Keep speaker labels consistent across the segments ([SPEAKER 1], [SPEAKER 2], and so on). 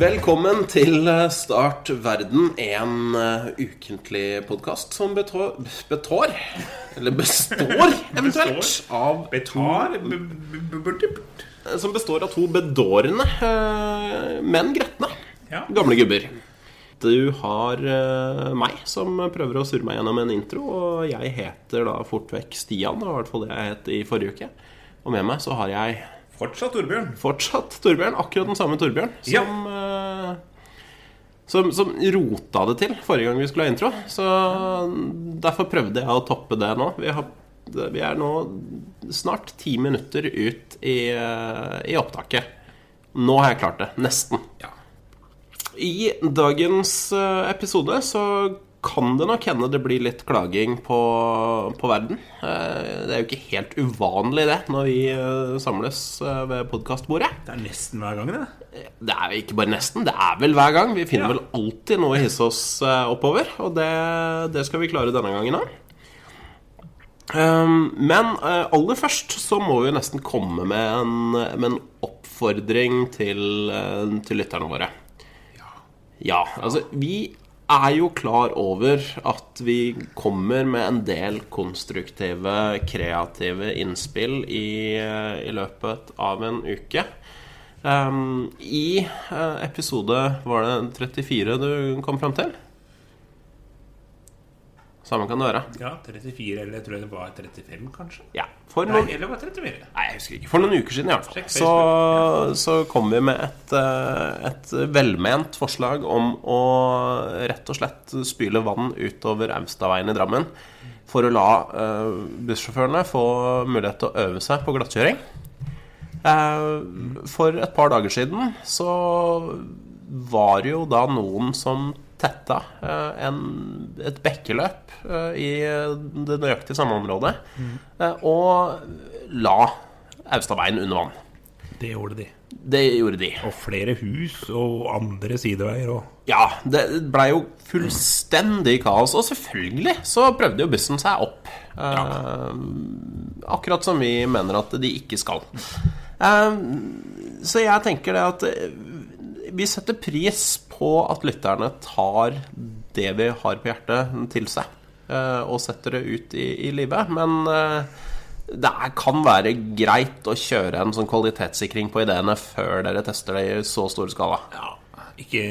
[SPEAKER 1] Velkommen til eh, Start verden, en eh, ukentlig podkast som betår, betår Eller består, eventuelt,
[SPEAKER 2] Består.
[SPEAKER 1] av
[SPEAKER 2] Betar b- b- b- burdip.
[SPEAKER 1] eh, Som består av to bedårende, eh, men gretne
[SPEAKER 2] Ja.
[SPEAKER 1] gamle gubber. Du har eh, meg, som prøver å surre meg gjennom en intro, og jeg heter da fort vekk Stian. Det var i hvert fall det jeg het i forrige uke. Og med meg så har jeg
[SPEAKER 2] Fortsatt Torbjørn.
[SPEAKER 1] fortsatt Torbjørn. Akkurat den samme Torbjørn som,
[SPEAKER 2] Ja.
[SPEAKER 1] eh, som, som rota det til forrige gang vi skulle ha intro. Så derfor prøvde jeg å toppe det nå. Vi, har, vi er nå snart ti minutter ut i, eh, i opptaket. Nå har jeg klart det. Nesten.
[SPEAKER 2] Ja.
[SPEAKER 1] I dagens eh, episode så kan det nok hende det blir litt klaging på, på verden. Eh, Det er jo ikke helt uvanlig det når vi eh, samles eh, ved podkastbordet.
[SPEAKER 2] Det er nesten hver gang, det.
[SPEAKER 1] Det er jo ikke bare nesten, det er vel hver gang. Vi finner
[SPEAKER 2] Ja.
[SPEAKER 1] vel alltid noe å hisse oss eh, oppover, og det, det skal vi klare denne gangen òg. Um, men eh, aller først så må vi jo nesten komme med en, med en oppfordring til, eh, til lytterne våre. Ja, altså vi er jo klar over at vi kommer med en del konstruktive, kreative innspill i, eh, i løpet av en uke. Ehm, I eh, episode Var det 34 du kom fram til? Samme kan det være.
[SPEAKER 2] Ja, 34, eller jeg tror det var 35, kanskje?
[SPEAKER 1] Ja. For
[SPEAKER 2] Nei,
[SPEAKER 1] noen,
[SPEAKER 2] eller var det 34?
[SPEAKER 1] Nei, jeg husker ikke. For noen uker siden, i hvert fall.
[SPEAKER 2] Sjekk
[SPEAKER 1] Så, så kom vi med et, eh, et velment forslag om å rett og slett spyle vann utover Austadveien i Drammen. For å la eh, bussjåførene få mulighet til å øve seg på glattkjøring. Eh, For et par dager siden så var det jo da noen som tetta eh, en, et bekkeløp eh, i det nøyaktige samme området, eh, og la Austaveien under vann.
[SPEAKER 2] Det gjorde de.
[SPEAKER 1] Det gjorde de.
[SPEAKER 2] Og flere hus og andre sideveier òg.
[SPEAKER 1] Ja, det blei jo fullstendig kaos. Og selvfølgelig så prøvde jo bussen seg opp. Eh, Akkurat som vi mener at de ikke skal. Eh, så jeg tenker det at eh, vi setter pris på at lytterne tar det vi har på hjertet, til seg. eh, og setter det ut i, i livet. Men eh, det er, kan være greit å kjøre en sånn kvalitetssikring på ideene før dere tester det i så stor skala.
[SPEAKER 2] Ja. Ikke,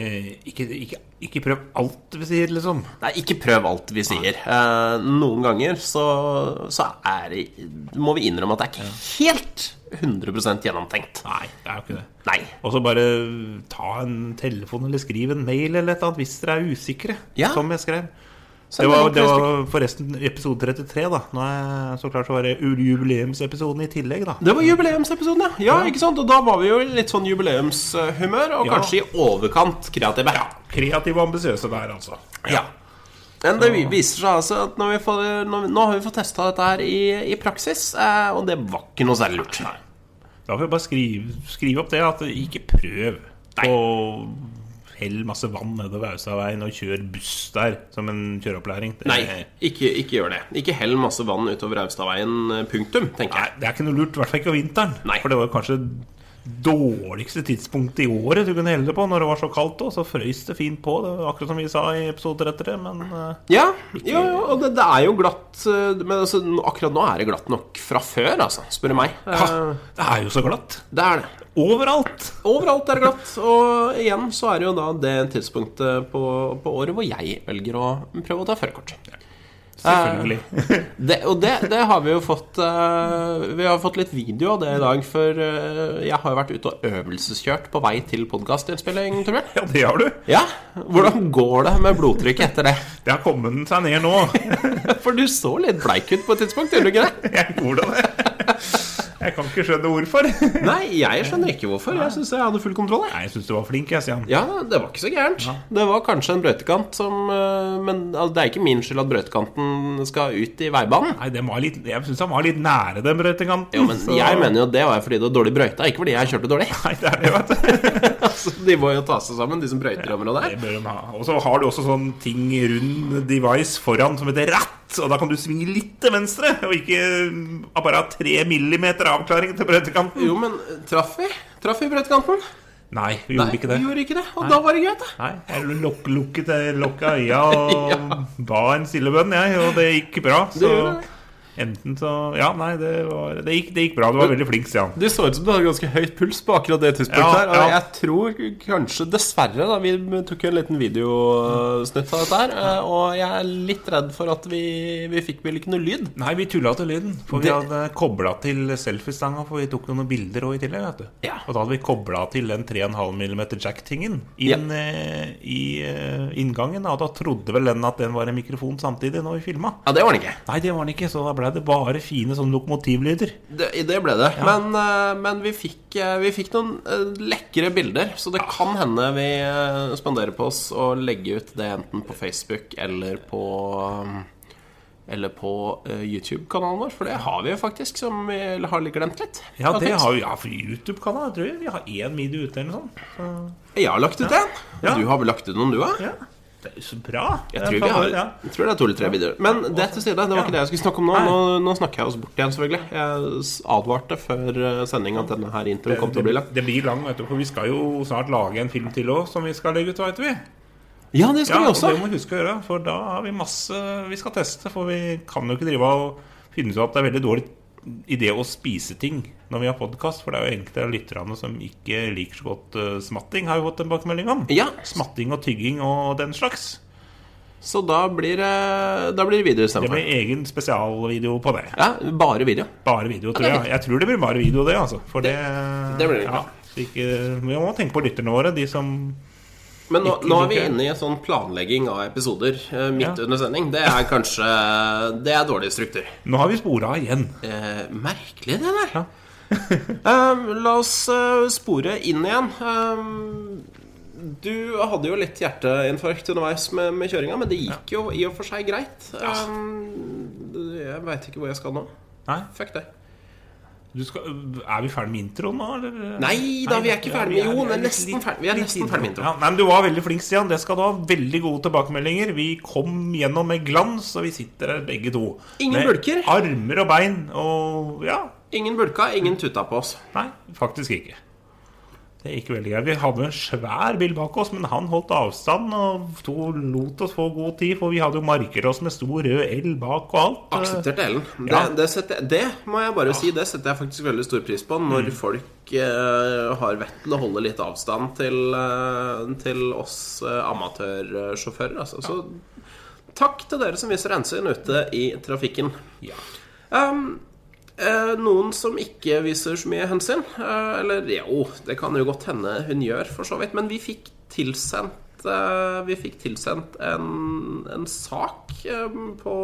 [SPEAKER 2] ikke, ikke, ikke prøv alt vi sier, liksom.
[SPEAKER 1] Nei, ikke prøv alt vi sier. Eh, noen ganger så, så er det, må vi innrømme at det er ikke helt 100 gjennomtenkt.
[SPEAKER 2] Nei, det er jo ikke det.
[SPEAKER 1] Nei.
[SPEAKER 2] Og så bare ta en telefon eller skriv en mail eller et eller annet hvis dere er usikre,
[SPEAKER 1] Ja.
[SPEAKER 2] som jeg skrev.
[SPEAKER 1] Så
[SPEAKER 2] Det var,
[SPEAKER 1] det
[SPEAKER 2] det
[SPEAKER 1] er litt-
[SPEAKER 2] var forresten episode 33, da. Nå er jeg så klart så var det jubileumsepisoden i tillegg, da.
[SPEAKER 1] det var jubileumsepisoden, ja. ja. ikke sant? Og da var vi jo i litt sånn jubileumshumør, og
[SPEAKER 2] Ja.
[SPEAKER 1] kanskje i overkant kreative. Ja.
[SPEAKER 2] Kreative og ambisiøse der, altså.
[SPEAKER 1] Men det viser seg altså at når vi får, når, vi- nå har vi fått testa dette her i, i praksis, eh, og det var ikke noe særlig lurt.
[SPEAKER 2] Da får vi bare skrive, skrive opp det, at ikke prøv å helle masse vann nedover Austaveien og kjør buss der som en kjøreopplæring. Det,
[SPEAKER 1] Nei, ikke, ikke gjør det. Ikke hell masse vann utover Austadveien, punktum, tenker jeg.
[SPEAKER 2] Nei, det er ikke noe lurt, i hvert fall ikke om vinteren.
[SPEAKER 1] Nei.
[SPEAKER 2] For det var kanskje dårligste tidspunktet i året du kunne helle det på, når det var så kaldt og så frøys det fint på. Det var akkurat som vi sa i episode 33, men eh,
[SPEAKER 1] Ja, ja, ja og det, det er jo glatt eh, Men altså, nå- akkurat nå er det glatt nok fra før, altså, spør du meg. Eh,
[SPEAKER 2] det er jo så glatt.
[SPEAKER 1] Det er det.
[SPEAKER 2] Overalt!
[SPEAKER 1] Overalt er det glatt. Og igjen så er det jo da det tidspunktet på, på året hvor jeg velger å prøve å ta førerkort.
[SPEAKER 2] Selvfølgelig.
[SPEAKER 1] Det, og det, det har vi jo fått eh, Vi har fått litt video av det i dag, for eh, jeg har jo vært ute og øvelseskjørt på vei til podkastinnspilling, Torbjørn.
[SPEAKER 2] ja, det har du.
[SPEAKER 1] Ja, hvordan går det med blodtrykket etter det?
[SPEAKER 2] Det har kommet seg ned nå.
[SPEAKER 1] For du så litt bleik ut på et tidspunkt, gjorde du ikke det?
[SPEAKER 2] Jeg gjorde det. Jeg kan ikke skjønne hvorfor. Nei,
[SPEAKER 1] Nei, jeg skjønner ikke hvorfor. Jeg syns jeg hadde full kontroll. Jeg.
[SPEAKER 2] jeg syns du var flink, jeg, Stian.
[SPEAKER 1] Ja, det var ikke så gærent. Det var kanskje en brøytekant som eh, Men altså, det er ikke min skyld at brøytekanten skal ut i veibanen.
[SPEAKER 2] Nei, den var litt, jeg syns han var litt nære den brøytekanten.
[SPEAKER 1] Jo, men
[SPEAKER 2] så-
[SPEAKER 1] jeg mener jo at det var fordi det var dårlig brøyta, ikke fordi jeg kjørte dårlig.
[SPEAKER 2] Nei, det er det, vet du.
[SPEAKER 1] Altså, de må jo ta seg sammen, de som brøyter i området her.
[SPEAKER 2] Det bør de ha. Og så har du også sånn ting rund device foran som heter ratt, og da kan du svinge litt til venstre, og ikke mm, bare ha tre millimeter avklaring til brøytekanten.
[SPEAKER 1] Jo, men traff vi? Traff vi brøytekanten?
[SPEAKER 2] Nei, vi gjorde ikke det.
[SPEAKER 1] Vi gjorde ikke det, og da var det greit, det.
[SPEAKER 2] Nei, Jeg lok lukket eh, lokka øya og ba en stillebønn, jeg, og det gikk bra. Så
[SPEAKER 1] gjorde det.
[SPEAKER 2] enten så Ja, nei, det, var, det, gikk, det gikk bra. Du var veldig flink, Stian.
[SPEAKER 1] Det så ut som du hadde ganske høyt puls på akkurat det tidspunktet.
[SPEAKER 2] Ja,
[SPEAKER 1] her Og
[SPEAKER 2] ja.
[SPEAKER 1] jeg tror kanskje, dessverre da, Vi tok jo en liten videosnutt av dette her. eh, Og jeg er litt redd for at vi, vi fikk vel ikke noe lyd.
[SPEAKER 2] Nei, vi tulla til lyden. For
[SPEAKER 1] Det-
[SPEAKER 2] vi hadde kobla til selfiestanga, for vi tok jo noen bilder òg i tillegg. vet du
[SPEAKER 1] Ja.
[SPEAKER 2] Og da hadde vi kobla til den 3,5 mm jack-tingen inn eh, i eh, inngangen. Og da trodde vel den at den var en mikrofon samtidig når vi filma.
[SPEAKER 1] Ja, det var det ikke.
[SPEAKER 2] Nei, det var den ikke, så da ble det bare fine sånne lokomotivlyder.
[SPEAKER 1] Det, det ble det. Men, eh, men vi, fikk, eh, vi fikk noen eh, lekre bilder, så det kan hende vi eh, spanderer på oss å legge ut det enten på Facebook eller på eh, Eller på eh, YouTube-kanalen vår, for det har vi jo faktisk, som vi har litt glemt litt.
[SPEAKER 2] Ja, det har vi ja, for YouTube-kanal. tror jeg Vi har én video ute eller noe sånt. Så,
[SPEAKER 1] Jeg har lagt ut en.
[SPEAKER 2] Ja.
[SPEAKER 1] Du har vel lagt ut noen, du òg?
[SPEAKER 2] ja. Det er jo så bra.
[SPEAKER 1] Jeg tror, vi har,
[SPEAKER 2] ja.
[SPEAKER 1] jeg tror det er to eller tre videoer. Men det til side, det var
[SPEAKER 2] Ja.
[SPEAKER 1] ikke det jeg skulle snakke om nå.
[SPEAKER 2] Nei.
[SPEAKER 1] Nå, nå snakker jeg oss bort igjen, selvfølgelig. Jeg s- advarte før sending at denne her introen kom til å bli lang.
[SPEAKER 2] Det blir lang, vet du, for vi skal jo snart lage en film til òg som vi skal legge ut, veit vi.
[SPEAKER 1] Ja, det skal
[SPEAKER 2] Ja,
[SPEAKER 1] vi
[SPEAKER 2] og
[SPEAKER 1] også.
[SPEAKER 2] det må vi huske å gjøre, for da har vi masse vi skal teste. For vi kan jo ikke drive og finne ut at det er veldig dårlig idé å spise ting når vi har podkast, for det er jo enkelte av lytterne som ikke liker så godt eh, smatting, har vi fått en bakmelding om.
[SPEAKER 1] Ja,
[SPEAKER 2] Smatting og tygging og den slags.
[SPEAKER 1] Så da blir det, da blir det video
[SPEAKER 2] Det
[SPEAKER 1] istedenfor.
[SPEAKER 2] blir egen spesialvideo på det.
[SPEAKER 1] Ja, bare video.
[SPEAKER 2] Bare video, tror
[SPEAKER 1] det er
[SPEAKER 2] jeg. Jeg tror det blir bare video, det. altså For det,
[SPEAKER 1] det blir det
[SPEAKER 2] ja, så ikke, Vi må tenke på lytterne våre, de som
[SPEAKER 1] Men nå,
[SPEAKER 2] Ikke
[SPEAKER 1] nå er vi
[SPEAKER 2] like-
[SPEAKER 1] inne i en sånn planlegging av episoder eh, midt
[SPEAKER 2] Ja.
[SPEAKER 1] under sending. Det er kanskje Det er dårlig struktur.
[SPEAKER 2] Nå har vi spora igjen.
[SPEAKER 1] Eh, merkelig, det der. Eh, la oss eh, spore inn igjen. Eh, du hadde jo litt hjerteinfarkt underveis med, med kjøringa, men det gikk jo i og for seg greit. Eh, jeg veit ikke hvor jeg skal nå.
[SPEAKER 2] Nei,
[SPEAKER 1] Fuck det.
[SPEAKER 2] du skal, er vi ferdig med introen nå, eller?
[SPEAKER 1] Nei da, vi er ikke
[SPEAKER 2] ja,
[SPEAKER 1] ferdig
[SPEAKER 2] vi
[SPEAKER 1] med Jo, vi er
[SPEAKER 2] litt-
[SPEAKER 1] nesten
[SPEAKER 2] litt-
[SPEAKER 1] ferdig- vi er
[SPEAKER 2] litt
[SPEAKER 1] nesten
[SPEAKER 2] introen.
[SPEAKER 1] ferdig med introen.
[SPEAKER 2] Ja, nei, men Du var veldig flink, Stian. Det skal du ha. Veldig gode tilbakemeldinger. Vi kom gjennom med glans, og vi sitter her begge to.
[SPEAKER 1] Ingen
[SPEAKER 2] med
[SPEAKER 1] bulker.
[SPEAKER 2] Armer og bein og ja.
[SPEAKER 1] Ingen bulka, ingen tuta på oss.
[SPEAKER 2] Nei, faktisk ikke. Det gikk veldig greit. Vi hadde en svær bil bak oss, men han holdt avstand og to lot oss få god tid, for vi hadde jo markert oss med stor rød L bak og alt.
[SPEAKER 1] Aksepterte Ellen. Det,
[SPEAKER 2] Ja.
[SPEAKER 1] det, setter, det må jeg bare si, det setter jeg faktisk veldig stor pris på. Når folk eh, har vett til å holde litt avstand til, eh, til oss eh, amatørsjåfører. Altså. Så takk til dere som viser hensyn ute i trafikken.
[SPEAKER 2] Ja.
[SPEAKER 1] Um, eh, noen som ikke viser så mye hensyn. eh, eller jo, det kan jo godt hende hun gjør, for så vidt. Men vi fikk tilsendt eh, Vi fikk tilsendt en, en sak eh, på,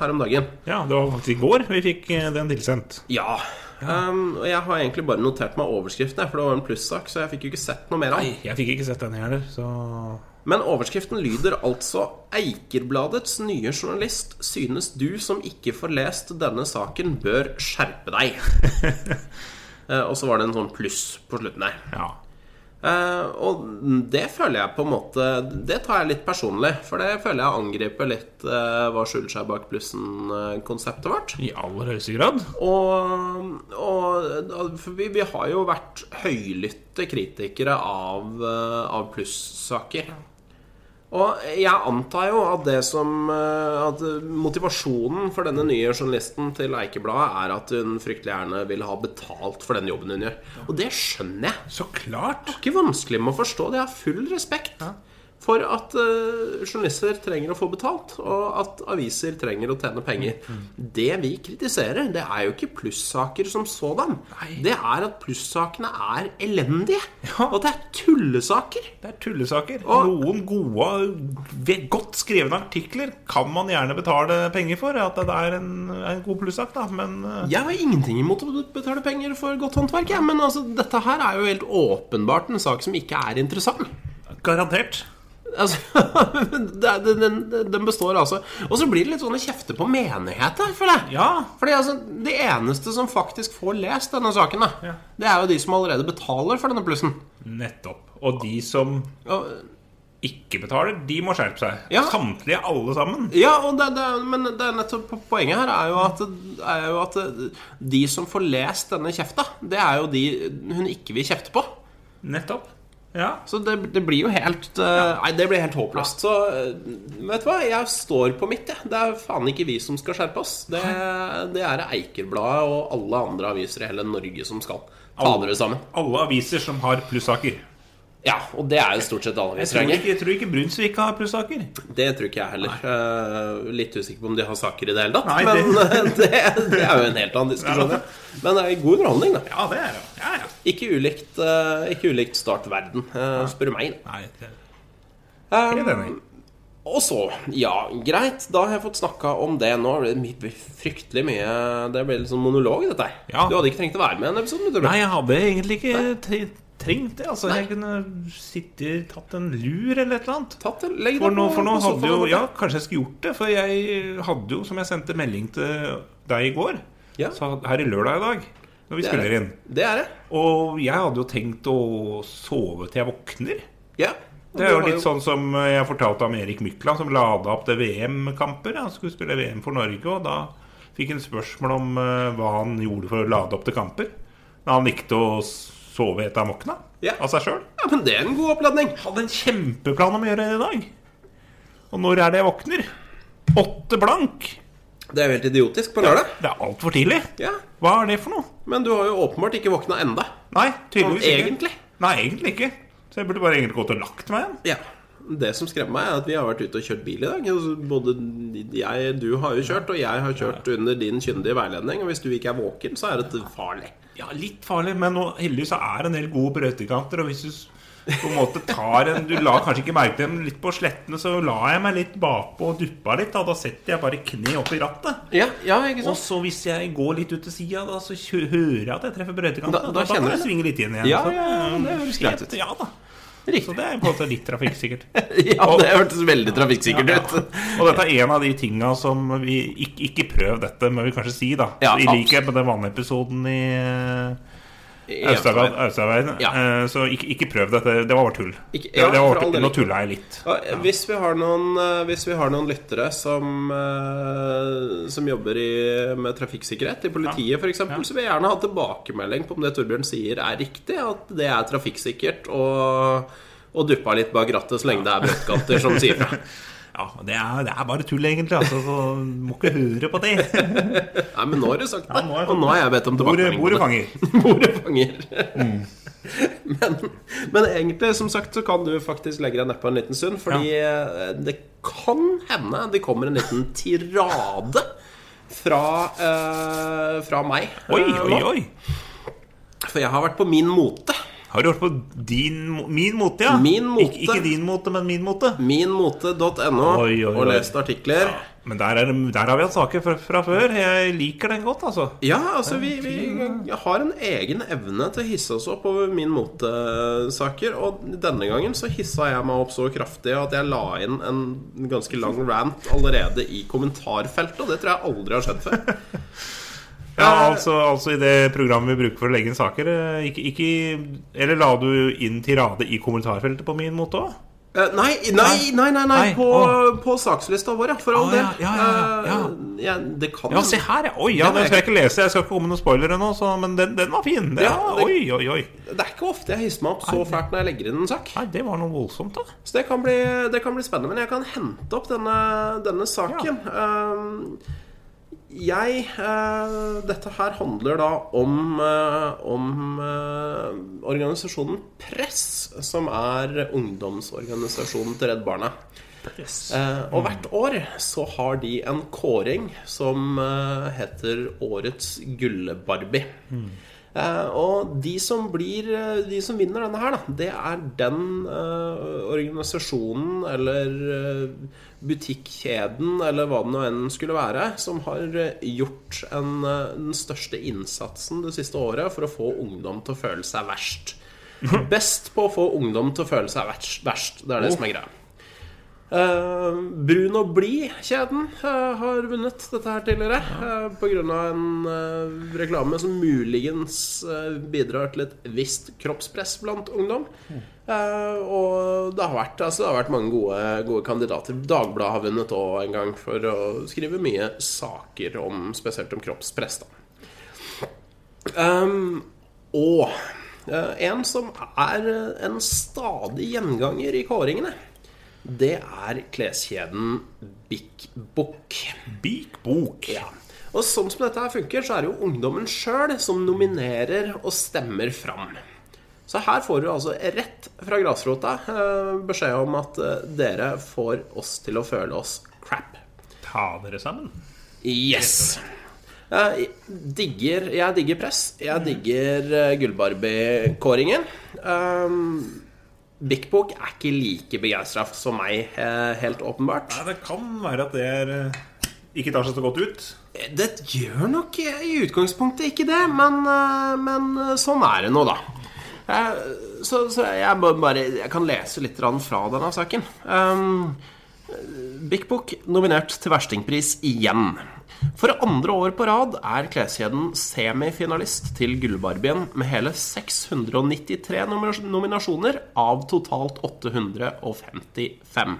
[SPEAKER 1] her om dagen.
[SPEAKER 2] ja, det var faktisk i går vi fikk eh, den tilsendt.
[SPEAKER 1] Ja. Um, og jeg har egentlig bare notert meg overskriften, jeg, for det var en plussak, så jeg fikk jo ikke sett noe mer av den.
[SPEAKER 2] Jeg fikk ikke sett den heller, så
[SPEAKER 1] Men overskriften lyder altså 'Eikerbladets nye journalist synes du som ikke får lest denne saken, bør skjerpe deg'. Eh, og så var det en sånn pluss på slutten der.
[SPEAKER 2] ja.
[SPEAKER 1] Eh, og det føler jeg på en måte Det tar jeg litt personlig, for det føler jeg angriper litt eh, hva skjuler seg bak plussen-konseptet vårt.
[SPEAKER 2] I aller høyeste grad.
[SPEAKER 1] Og, og da- for vi, vi har jo vært høylytte kritikere av, eh, av plussaker. Og jeg antar jo at det som eh, At motivasjonen for denne nye journalisten til Eikebladet er at hun fryktelig gjerne vil ha betalt for den jobben hun gjør. Og det skjønner jeg.
[SPEAKER 2] Så klart!
[SPEAKER 1] Det er ikke vanskelig med å forstå det. Jeg har full respekt for at eh, journalister trenger å få betalt, og at aviser trenger å tjene penger. Det vi kritiserer, det er jo ikke plussaker som sådan. Det er at plussakene er elendige.
[SPEAKER 2] Ja.
[SPEAKER 1] Og at det er tullesaker.
[SPEAKER 2] Det er tullesaker.
[SPEAKER 1] Og-
[SPEAKER 2] Noen gode, ve- godt skrevne artikler kan man gjerne betale penger for. At det er en, en god plussak, da. Men eh,
[SPEAKER 1] Jeg har ingenting imot å betale penger for godt håndverk, jeg, men altså, dette her er jo helt åpenbart en sak som ikke er interessant.
[SPEAKER 2] garantert.
[SPEAKER 1] Altså, det er- den, den, den består altså Og så blir det litt sånne kjefter på menighet her, føler jeg.
[SPEAKER 2] Ja.
[SPEAKER 1] Fordi altså, Det eneste som faktisk får lest denne saken, da,
[SPEAKER 2] Ja.
[SPEAKER 1] det er jo de som allerede betaler for denne plussen.
[SPEAKER 2] Nettopp. Og de som
[SPEAKER 1] Og,
[SPEAKER 2] ikke betaler, de må skjerpe seg.
[SPEAKER 1] Ja.
[SPEAKER 2] Samtlige, alle sammen.
[SPEAKER 1] ja, og det, det, er- Men det er nettopp po- poenget her er jo, at, er jo at de som får lest denne kjefta, det er jo de hun ikke vil kjefte på.
[SPEAKER 2] Nettopp. Ja.
[SPEAKER 1] Så det, det blir jo helt eh, Nei, det blir helt håpløst. Så eh, vet du hva, jeg står på mitt, jeg. Det er faen ikke vi som skal skjerpe oss. Det, det er Eikerbladet og alle andre aviser i hele Norge som skal ta dere sammen.
[SPEAKER 2] Alle aviser som har plussaker.
[SPEAKER 1] Ja, og det er jo stort sett alle
[SPEAKER 2] Jeg
[SPEAKER 1] aviser,
[SPEAKER 2] tror
[SPEAKER 1] egentlig.
[SPEAKER 2] ikke, jeg tror ikke Brunsvik har plussaker.
[SPEAKER 1] Det tror ikke jeg heller. Eh, litt usikker på om de har saker i det hele tatt.
[SPEAKER 2] Nei, det-
[SPEAKER 1] men eh, det, det er jo en helt annen diskusjon.
[SPEAKER 2] Ja.
[SPEAKER 1] ja. Men det er god underholdning, da.
[SPEAKER 2] Ja, det er det. Ja, ja.
[SPEAKER 1] Ikke ulikt, eh, ikke ulikt Start verden, eh, spør du meg. da.
[SPEAKER 2] Nei, det
[SPEAKER 1] Eh,
[SPEAKER 2] Helt enig.
[SPEAKER 1] Og så, ja, greit, da har jeg fått snakka om det nå. Det blir my- fryktelig mye Det ble litt sånn monolog, dette her.
[SPEAKER 2] Ja.
[SPEAKER 1] Du hadde ikke trengt å være med i en episode, tror du?
[SPEAKER 2] Nei, jeg hadde egentlig ikke tre- trengt det. Altså, Jeg kunne sittet, tatt en lur eller et eller annet.
[SPEAKER 1] Tatt det, legg
[SPEAKER 2] For
[SPEAKER 1] det
[SPEAKER 2] nå, for nå
[SPEAKER 1] på sofaen
[SPEAKER 2] hadde jo
[SPEAKER 1] der borte.
[SPEAKER 2] Ja, kanskje jeg skulle gjort det. For jeg hadde jo, som jeg sendte melding til deg i går
[SPEAKER 1] Ja.
[SPEAKER 2] så Her i lørdag i dag, når vi
[SPEAKER 1] Det er
[SPEAKER 2] spiller inn.
[SPEAKER 1] det. Det er det.
[SPEAKER 2] Og jeg hadde jo tenkt å sove til jeg våkner.
[SPEAKER 1] Ja.
[SPEAKER 2] Det er jo litt sånn som jeg fortalte om Erik Mykland, som lada opp til VM-kamper. Han skulle spille VM for Norge, og da fikk han spørsmål om eh, hva han gjorde for å lade opp til kamper. Da han likte å sove etter han våkna
[SPEAKER 1] Ja.
[SPEAKER 2] av seg sjøl.
[SPEAKER 1] Ja, men det er en god oppladning.
[SPEAKER 2] Hadde en kjempeplan om å gjøre det i dag. Og når er det jeg våkner? Åtte blank!
[SPEAKER 1] Det er jo helt idiotisk på lørdag.
[SPEAKER 2] Det er altfor tidlig.
[SPEAKER 1] Ja.
[SPEAKER 2] Hva er det for noe?
[SPEAKER 1] Men du har jo åpenbart ikke våkna enda.
[SPEAKER 2] Nei, tydeligvis
[SPEAKER 1] Sånn
[SPEAKER 2] ikke.
[SPEAKER 1] egentlig?
[SPEAKER 2] Nei, egentlig ikke. Så jeg burde bare egentlig gått og lagt meg igjen.
[SPEAKER 1] Ja. Det som skremmer meg, er at vi har vært ute og kjørt bil i dag. Altså, Både jeg, du har jo kjørt, og jeg har kjørt under din kyndige veiledning. Og hvis du ikke er våken, så er dette farlig.
[SPEAKER 2] Ja, litt farlig, men nå, heldigvis så er det en del gode brøytekanter. Og hvis du s- på en måte tar en Du la kanskje ikke merke det, men litt på slettene så la jeg meg litt bakpå og duppa litt. Da, da setter jeg bare kne opp i rattet.
[SPEAKER 1] Ja, ja ikke
[SPEAKER 2] Og så hvis jeg går litt ut til sida, da så kjø- hører jeg at jeg treffer brøytekanten.
[SPEAKER 1] Da- da
[SPEAKER 2] Da, da,
[SPEAKER 1] kjenner
[SPEAKER 2] kan jeg
[SPEAKER 1] du det.
[SPEAKER 2] svinge litt inn igjen.
[SPEAKER 1] Ja,
[SPEAKER 2] så-
[SPEAKER 1] ja, ja, det høres greit ut.
[SPEAKER 2] Ja da. Så
[SPEAKER 1] Riktig.
[SPEAKER 2] det er på en måte litt trafikksikkert.
[SPEAKER 1] Ja, det hørtes veldig trafikksikkert
[SPEAKER 2] Ja.
[SPEAKER 1] ut.
[SPEAKER 2] Og dette er en av de tinga som vi Ikke, ikke prøv dette, må vi kanskje si, da.
[SPEAKER 1] Ja,
[SPEAKER 2] I
[SPEAKER 1] absolutt.
[SPEAKER 2] likhet med den vannepisoden i eh,
[SPEAKER 1] Enstemmig.
[SPEAKER 2] Austaveien.
[SPEAKER 1] Ja.
[SPEAKER 2] Eh, Så ikke, ikke prøv dette. Det var bare tull.
[SPEAKER 1] Ikke-
[SPEAKER 2] Det-
[SPEAKER 1] ja,
[SPEAKER 2] det
[SPEAKER 1] for
[SPEAKER 2] var,
[SPEAKER 1] all del.
[SPEAKER 2] tull. Nå tulla jeg litt.
[SPEAKER 1] Ja, eh, Hvis vi har noen, eh, hvis vi har noen lyttere som, eh, som jobber i, med trafikksikkerhet, i politiet f.eks., eksempel så vil jeg gjerne ha tilbakemelding på om det Torbjørn sier er riktig. At det er trafikksikkert og, og duppa litt bak rattet så lenge det er brøttkanter som sier fra.
[SPEAKER 2] Ja, det er, det er bare tull, egentlig. Altså, så må ikke høre på det.
[SPEAKER 1] Nei, men nå har du sagt det.
[SPEAKER 2] nå har jeg
[SPEAKER 1] og nå har jeg bedt om
[SPEAKER 2] Bordet
[SPEAKER 1] tilbakemelding. på
[SPEAKER 2] bordet
[SPEAKER 1] det.
[SPEAKER 2] fanger.
[SPEAKER 1] Bordet fanger.
[SPEAKER 2] Mm.
[SPEAKER 1] men, men egentlig, som sagt, så kan du faktisk legge deg nedpå en liten stund, fordi eh, det kan hende det kommer en liten tirade fra, eh, fra meg.
[SPEAKER 2] Oi,
[SPEAKER 1] eh,
[SPEAKER 2] oi,
[SPEAKER 1] nå.
[SPEAKER 2] oi.
[SPEAKER 1] For jeg har vært på min mote.
[SPEAKER 2] Har du hørt på din, mo- min mote, ja?
[SPEAKER 1] Min mote.
[SPEAKER 2] Ik ikke din mote, men min mote.
[SPEAKER 1] Minmote.no
[SPEAKER 2] Oi, oi,
[SPEAKER 1] og
[SPEAKER 2] oi.
[SPEAKER 1] lest artikler.
[SPEAKER 2] Men der, er, det- der har vi hatt saker fra, fra før. Jeg liker den godt, altså.
[SPEAKER 1] Ja, altså vi, vi har en egen evne til å hisse oss opp over min motesaker. Og denne gangen så hissa jeg meg opp så kraftig at jeg la inn en ganske lang rant allerede i kommentarfeltet. Og det tror jeg aldri har skjedd før.
[SPEAKER 2] Ja,
[SPEAKER 1] Eh,
[SPEAKER 2] altså, altså i det programmet vi bruker for å legge inn saker. eh, Ikke, ikke, eller la du inn tirade i kommentarfeltet på min mote òg?
[SPEAKER 1] Eh, Nei, nei, nei, nei, nei
[SPEAKER 2] Nei,
[SPEAKER 1] på,
[SPEAKER 2] å.
[SPEAKER 1] på sakslista vår, ja. For all
[SPEAKER 2] Å,
[SPEAKER 1] del.
[SPEAKER 2] ja, ja, ja, ja.
[SPEAKER 1] Eh, ja, det kan
[SPEAKER 2] Ja, se her, ja. Oi, ja,
[SPEAKER 1] Den er
[SPEAKER 2] den skal jeg ikke lese. Jeg skal ikke komme med noen spoilere nå, så, men den, den var fin. Det,
[SPEAKER 1] Ja, det-
[SPEAKER 2] Oi, oi, oi.
[SPEAKER 1] Det er ikke ofte jeg hisser meg opp så fælt når jeg legger inn en sak.
[SPEAKER 2] Nei, det var noe voldsomt, da.
[SPEAKER 1] Så det kan bli, det kan bli spennende. Men jeg kan hente opp denne, denne saken. Ehm, jeg eh, Dette her handler da om, eh, om eh, organisasjonen Press, som er ungdomsorganisasjonen til Redd Barna. Eh, og hvert år så har de en kåring som eh, heter Årets Gullbarbie. Eh, og de som, blir, eh, de som vinner denne her, da, det er den eh, organisasjonen eller eh, butikkjeden eller hva det nå enn skulle være, som har eh, gjort en, eh, den største innsatsen det siste året for å få ungdom til å føle seg verst. Best på å få ungdom til å føle seg verst. verst. Det er det som er greia. Eh, Brun og blid-kjeden eh, har vunnet dette her tidligere. eh, på grunn av en eh, reklame som muligens eh, bidrar til et visst kroppspress blant ungdom. Eh, og det har vært, altså, det har vært mange gode, gode kandidater. Dagbladet har vunnet òg en gang for å skrive mye saker om spesielt om kroppspress. Da. Um, Ehm, og Eh, En som er eh, en stadig gjenganger i kåringene, det er kleskjeden Bik Bok.
[SPEAKER 2] Bik bok.
[SPEAKER 1] Ja. Og sånn som dette her funker, så er det jo ungdommen sjøl som nominerer og stemmer fram. Så her får du altså rett fra grasrota eh, beskjed om at eh, dere får oss til å føle oss crap.
[SPEAKER 2] Ta dere sammen.
[SPEAKER 1] Yes! Jeg Eh, digger, jeg digger press. Jeg digger eh, Gullbarbie-kåringen. Um, Big Book er ikke like begeistra som meg, eh, helt åpenbart.
[SPEAKER 2] Nei, det kan være at det er eh, ikke tar seg så godt ut.
[SPEAKER 1] Det gjør nok i utgangspunktet ikke det, men, eh, men eh, sånn er det nå, da. Eh, Så, så jeg, må bare, jeg kan lese litt grann fra denne saken. Um, Big Book nominert til verstingpris igjen. For andre år på rad er kleskjeden semifinalist til Gullbarbien med hele 693 nomi- nominasjoner av totalt 855.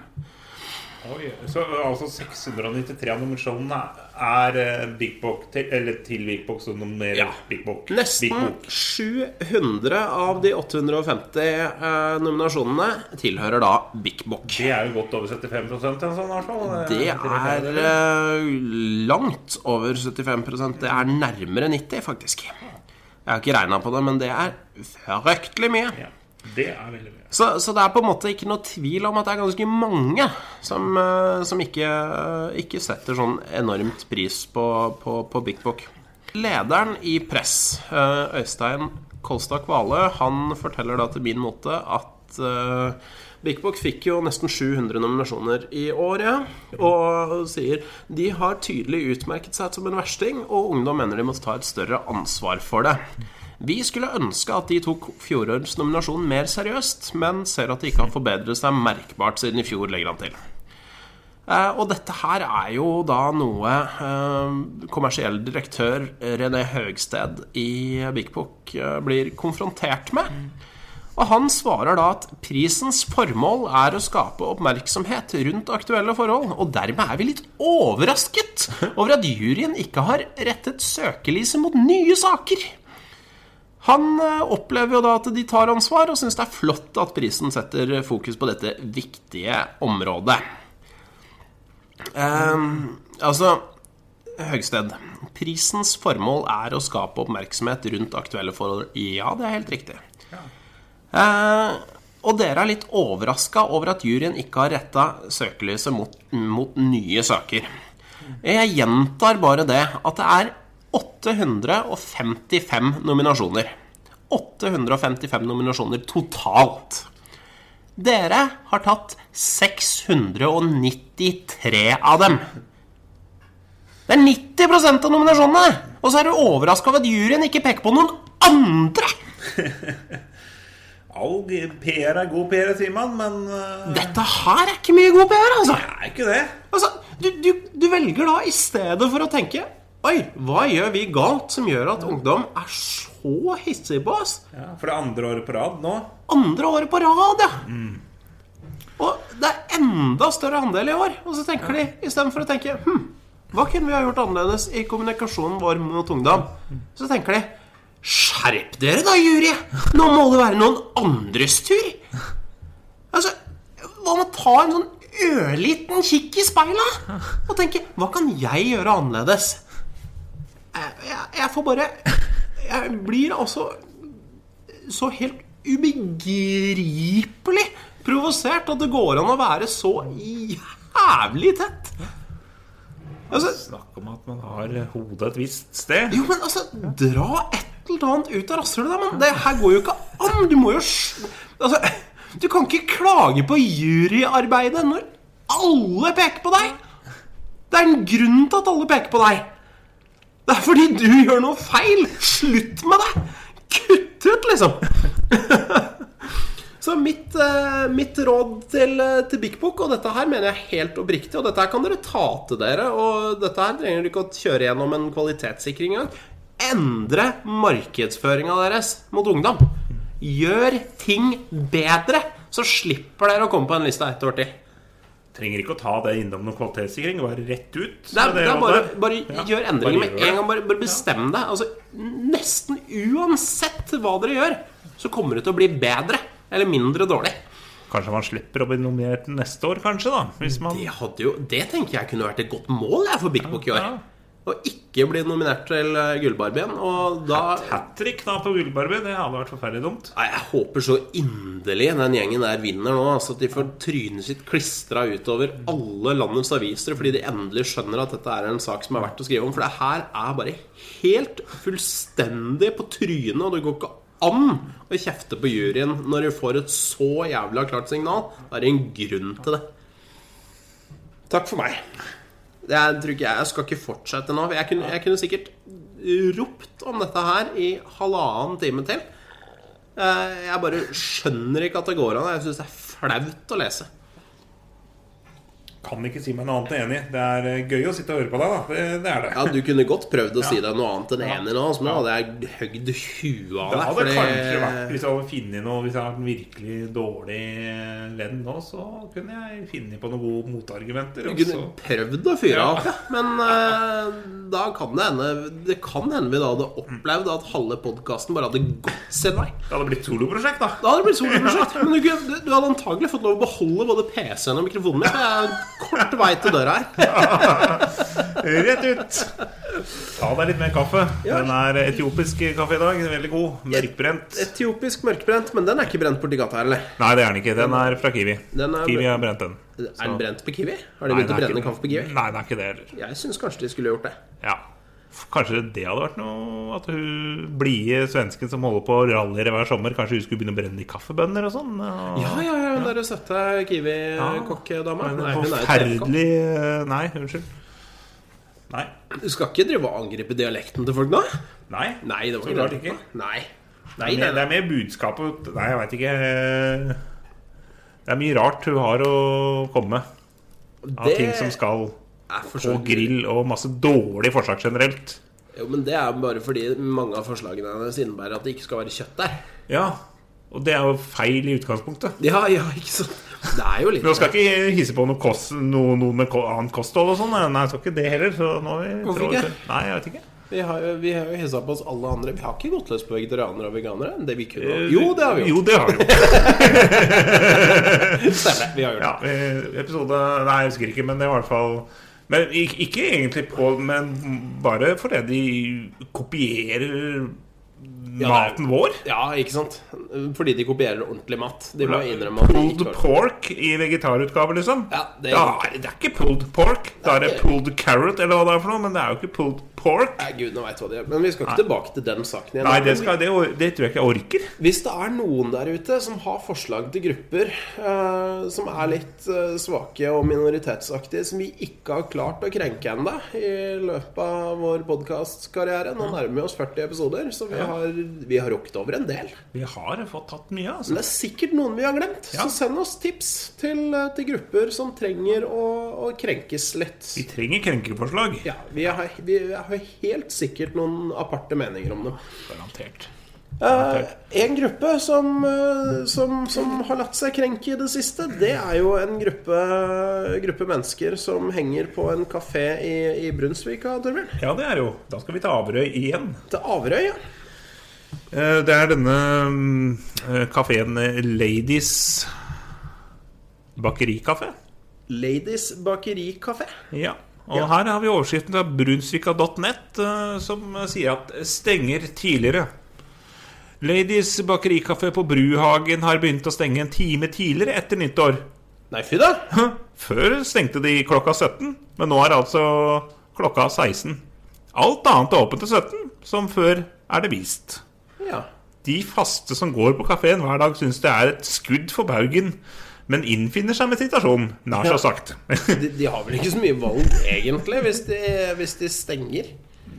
[SPEAKER 2] Oi, så eh, altså 693 av nominasjonene er eh, Big Book til, eller til Big Book som nominerer
[SPEAKER 1] Ja.
[SPEAKER 2] Big Book. Big
[SPEAKER 1] Nesten
[SPEAKER 2] Book.
[SPEAKER 1] 700 av de 850 eh, nominasjonene tilhører da Big Bock.
[SPEAKER 2] Det er jo godt over 75 eller sånn, i hvert fall.
[SPEAKER 1] Det er eh, langt over 75 Det er nærmere 90, faktisk. Jeg har ikke regna på det, men det er fryktelig mye.
[SPEAKER 2] ja, Det er veldig mye.
[SPEAKER 1] Så, så det er på en måte ikke noe tvil om at det er ganske mange som, eh, som ikke, eh, ikke setter sånn enormt pris på, på, på Big Book. Lederen i press, eh, Øystein Kolstad Kvale, han forteller da til min måte at eh, Big Book fikk jo nesten 700 nominasjoner i år, ja, og sier de har tydelig utmerket seg som en versting, og ungdom mener de må ta et større ansvar for det. Vi skulle ønske at de tok fjorårets nominasjon mer seriøst, men ser at de ikke har forbedret seg merkbart siden i fjor, legger han til. Eh, og dette her er jo da noe eh, kommersiell direktør René Høgsted i Big Book eh, blir konfrontert med. Og han svarer da at prisens formål er å skape oppmerksomhet rundt aktuelle forhold, og dermed er vi litt overrasket over at juryen ikke har rettet søkelyset mot nye saker. Han eh, opplever jo da at de tar ansvar, og syns det er flott at prisen setter fokus på dette viktige området. Ehm, altså Høgsted. Prisens formål er å skape oppmerksomhet rundt aktuelle forhold. Ja, det er helt riktig. Eh, og dere er litt overraska over at juryen ikke har retta søkelyset mot, mot nye saker. Jeg gjentar bare det at det er 855 nominasjoner. 855 nominasjoner totalt. Dere har tatt 693 av dem. Det er 90 av nominasjonene! Og så er du overraska over at juryen ikke peker på noen andre!
[SPEAKER 2] All g- PR er god PR, sier man, men eh,
[SPEAKER 1] Dette her er ikke mye god PR, altså.
[SPEAKER 2] det er ikke det.
[SPEAKER 1] altså du, du, du velger da i stedet for å tenke Oi, hva gjør vi galt som gjør at ungdom er så hissige på oss?
[SPEAKER 2] Ja, for det er andre året på rad nå.
[SPEAKER 1] Andre året på rad, ja! Og det er enda større andel i år. Og så tenker de, istedenfor å tenke Hm, hva kunne vi ha gjort annerledes i kommunikasjonen vår mot ungdom? Så tenker de Skjerp dere da, jury! Nå må det være noen andres tur! Altså, hva med å ta en sånn ørliten kikk i speilet og tenke Hva kan jeg gjøre annerledes? Jeg, jeg, jeg får bare Jeg blir altså så helt ubegripelig provosert at det går an å være så jævlig tett. Altså,
[SPEAKER 2] Snakk om at man har hodet et visst sted.
[SPEAKER 1] jo, men altså, dra et eller annet ut av rasshølet, da. Men det her går jo ikke an. Du må jo sj- Altså, du kan ikke klage på juryarbeidet når alle peker på deg. Det er en grunn til at alle peker på deg. Det er fordi du gjør noe feil. Slutt med det. Kutt ut, liksom. Så mitt, eh, mitt råd til, eh, til Big Book, og dette her mener jeg helt oppriktig, og dette her kan dere ta til dere, og dette her trenger dere ikke å kjøre gjennom en kvalitetssikring engang. Endre markedsføringa deres mot ungdom. Gjør ting bedre, så slipper dere å komme på en liste ett år til.
[SPEAKER 2] Trenger ikke å ta det innom noen kvalitetssikring. Bare rett ut.
[SPEAKER 1] Det er,
[SPEAKER 2] med
[SPEAKER 1] det er bare,
[SPEAKER 2] rådet.
[SPEAKER 1] bare
[SPEAKER 2] Ja,
[SPEAKER 1] gjør endringer
[SPEAKER 2] gjør
[SPEAKER 1] med
[SPEAKER 2] det.
[SPEAKER 1] en gang. Bare, bare bestem deg. Altså, nesten uansett hva dere gjør, så kommer det til å bli bedre eller mindre dårlig.
[SPEAKER 2] Kanskje man slipper å bli nominert neste år, kanskje, da. Hvis man
[SPEAKER 1] Det, hadde jo, det tenker jeg kunne vært et godt mål jeg, for Big Book i år.
[SPEAKER 2] Ja.
[SPEAKER 1] Å ikke bli nominert til eh, Gullbarbien. Og da
[SPEAKER 2] Hat trick da på gullbarbie, det hadde vært forferdelig dumt.
[SPEAKER 1] Nei, Jeg håper så inderlig den gjengen der vinner nå. Altså At de får trynet sitt klistra utover alle landets aviser fordi de endelig skjønner at dette er en sak som er verdt å skrive om. For det her er bare helt fullstendig på trynet, og det går ikke an å kjefte på juryen når de får et så jævla klart signal. Det er en grunn til det. Takk for meg. Jeg tror ikke jeg, jeg skal ikke fortsette nå. for Jeg kunne, jeg kunne sikkert ropt om dette her i halvannen time til. Eh, Jeg bare skjønner ikke at det går an. Jeg syns det er flaut å lese.
[SPEAKER 2] Kan ikke si meg noe annet enn enig. Det er eh, gøy å sitte og høre på deg, da. Det, det er det.
[SPEAKER 1] Ja, Du kunne godt prøvd å si deg noe annet enn enig nå, så nå hadde jeg høgd huet av
[SPEAKER 2] Det
[SPEAKER 1] deg.
[SPEAKER 2] hadde
[SPEAKER 1] fordi-
[SPEAKER 2] kanskje vært Hvis jeg hadde funnet noe Hvis jeg hadde en virkelig dårlig venn nå, så kunne jeg finne på noen gode motargumenter.
[SPEAKER 1] Du
[SPEAKER 2] og
[SPEAKER 1] kunne
[SPEAKER 2] så-
[SPEAKER 1] prøvd å fyre
[SPEAKER 2] Ja.
[SPEAKER 1] av, ja. men eh, da kan det hende Det kan hende vi da hadde opplevd at halve podkasten bare hadde gått sin vei.
[SPEAKER 2] Det hadde blitt soloprosjekt, da.
[SPEAKER 1] Da hadde det blitt soloprosjekt. Men du, kunne- du, du hadde antagelig fått lov å beholde både PC-en og mikrofonen min. for Det er kort vei til døra her.
[SPEAKER 2] Rett ut! Ta deg litt mer kaffe.
[SPEAKER 1] Ja.
[SPEAKER 2] Den er etiopisk kaffe i dag. Veldig god. Mørkbrent.
[SPEAKER 1] Etiopisk mørkbrent, men den er ikke brent borti gata her, eller?
[SPEAKER 2] Nei, det er den ikke. Den er fra Kiwi.
[SPEAKER 1] Den er-
[SPEAKER 2] Kiwi har brent den.
[SPEAKER 1] Er den brent på Kiwi? Har de
[SPEAKER 2] Nei,
[SPEAKER 1] begynt
[SPEAKER 2] den
[SPEAKER 1] å
[SPEAKER 2] er
[SPEAKER 1] brenne
[SPEAKER 2] ikke-
[SPEAKER 1] kaffe på Kiwi?
[SPEAKER 2] Nei, det er ikke det heller.
[SPEAKER 1] Jeg syns kanskje de skulle gjort det.
[SPEAKER 2] Ja. Kanskje det hadde vært noe At hun blide svensken som holder på rallyer hver sommer, kanskje hun skulle begynne å brenne i kaffebønner og sånn? og-
[SPEAKER 1] Ja, ja, ja, hun derre søte Kiwi-kokkedama. Nei,
[SPEAKER 2] Nei, det er
[SPEAKER 1] hun er jo trekant.
[SPEAKER 2] Forferdelig eh, Nei, unnskyld. Nei.
[SPEAKER 1] Du skal ikke drive og angripe dialekten til folk nå?
[SPEAKER 2] Nei.
[SPEAKER 1] Nei, det var
[SPEAKER 2] Så klart ikke.
[SPEAKER 1] Nei.
[SPEAKER 2] Det,
[SPEAKER 1] Nei, nei,
[SPEAKER 2] er mer, det
[SPEAKER 1] nei.
[SPEAKER 2] er mer budskapet Nei, jeg veit ikke. eh, Det er mye rart hun har å komme med. Av
[SPEAKER 1] Det
[SPEAKER 2] ting som skal
[SPEAKER 1] er for
[SPEAKER 2] på
[SPEAKER 1] så vidt
[SPEAKER 2] grill, og masse dårlig forslag generelt.
[SPEAKER 1] Jo, men det er bare fordi mange av forslagene hennes innebærer at det ikke skal være kjøtt der.
[SPEAKER 2] Ja. Og det er jo feil i utgangspunktet.
[SPEAKER 1] Ja, ja, ikke sant? Det er jo litt
[SPEAKER 2] Men jeg skal ikke hisse på noe, kost, noe, noe med ko- annet kosthold og sånn. Nei, jeg skal ikke det heller. Så nå er vi
[SPEAKER 1] Hvorfor
[SPEAKER 2] trår-
[SPEAKER 1] ikke?
[SPEAKER 2] Nei, jeg vet ikke.
[SPEAKER 1] Vi har jo, vi har jo hissa på oss alle andre. Vi har ikke gått løs på vegetarianere og veganere. Det vi kunne. Eh, Jo, det har vi gjort.
[SPEAKER 2] Jo, det har vi gjort.
[SPEAKER 1] Stemmer. Vi har gjort det.
[SPEAKER 2] Ja, eh, episode Nei, jeg husker ikke, men det var i hvert fall men ik- ikke egentlig på, men bare fordi de kopierer maten vår.
[SPEAKER 1] Ja, ikke sant? Fordi de kopierer ordentlig mat. De må jo innrømme at de ikke
[SPEAKER 2] Pulled
[SPEAKER 1] har
[SPEAKER 2] pork i vegetarutgave, liksom.
[SPEAKER 1] Ja, det er-
[SPEAKER 2] Da er, det er ikke pulled pork. Da er det pulled carrot, eller hva det er for noe, men det er jo ikke pulled pork.
[SPEAKER 1] Nei, Gud, nå vet jeg hva det er. Men vi skal ikke tilbake til den saken igjen.
[SPEAKER 2] Nei, det, skal, det, or- det tror jeg ikke jeg orker.
[SPEAKER 1] Hvis det er noen der ute som har forslag til grupper eh, som er litt eh, svake og minoritetsaktige, som vi ikke har klart å krenke ennå i løpet av vår podkastkarriere Nå nærmer vi oss 40 episoder, så vi har, vi har rukket over en del.
[SPEAKER 2] Vi har fått tatt mye,
[SPEAKER 1] Men
[SPEAKER 2] altså.
[SPEAKER 1] det er sikkert noen vi har glemt.
[SPEAKER 2] Ja.
[SPEAKER 1] Så send oss tips til, eh, til grupper som trenger å, å krenkes litt.
[SPEAKER 2] Vi trenger krenkeforslag.
[SPEAKER 1] Ja, vi har, vi har helt sikkert noen aparte meninger om dem.
[SPEAKER 2] Garantert.
[SPEAKER 1] Eh, en gruppe som, eh, som, som har latt seg krenke i det siste, det er jo en gruppe, gruppe mennesker som henger på en kafé i, i Brunsvika, Torbjørn.
[SPEAKER 2] Ja, det er jo. Da skal vi til Averøy igjen.
[SPEAKER 1] Til Averøy, ja.
[SPEAKER 2] Eh, Det er denne mm, eh, kafeen eh, Ladies Bakerikafé.
[SPEAKER 1] Ladies bakerikafé.
[SPEAKER 2] Ja. Og her har vi overskriften fra brunsvika.net, eh, som sier at stenger tidligere. Ladies bakerikafé på Bruhagen har begynt å stenge en time tidligere etter nyttår.
[SPEAKER 1] Nei, fy da!
[SPEAKER 2] Før stengte de klokka 17, men nå er altså klokka 16. Alt annet er åpent til 17, som før er det vist.
[SPEAKER 1] Ja.
[SPEAKER 2] De faste som går på kafeen hver dag, syns det er et skudd for baugen, men innfinner seg med situasjonen, nær så sagt.
[SPEAKER 1] De, de har vel ikke så mye valg, egentlig, hvis de, hvis de stenger.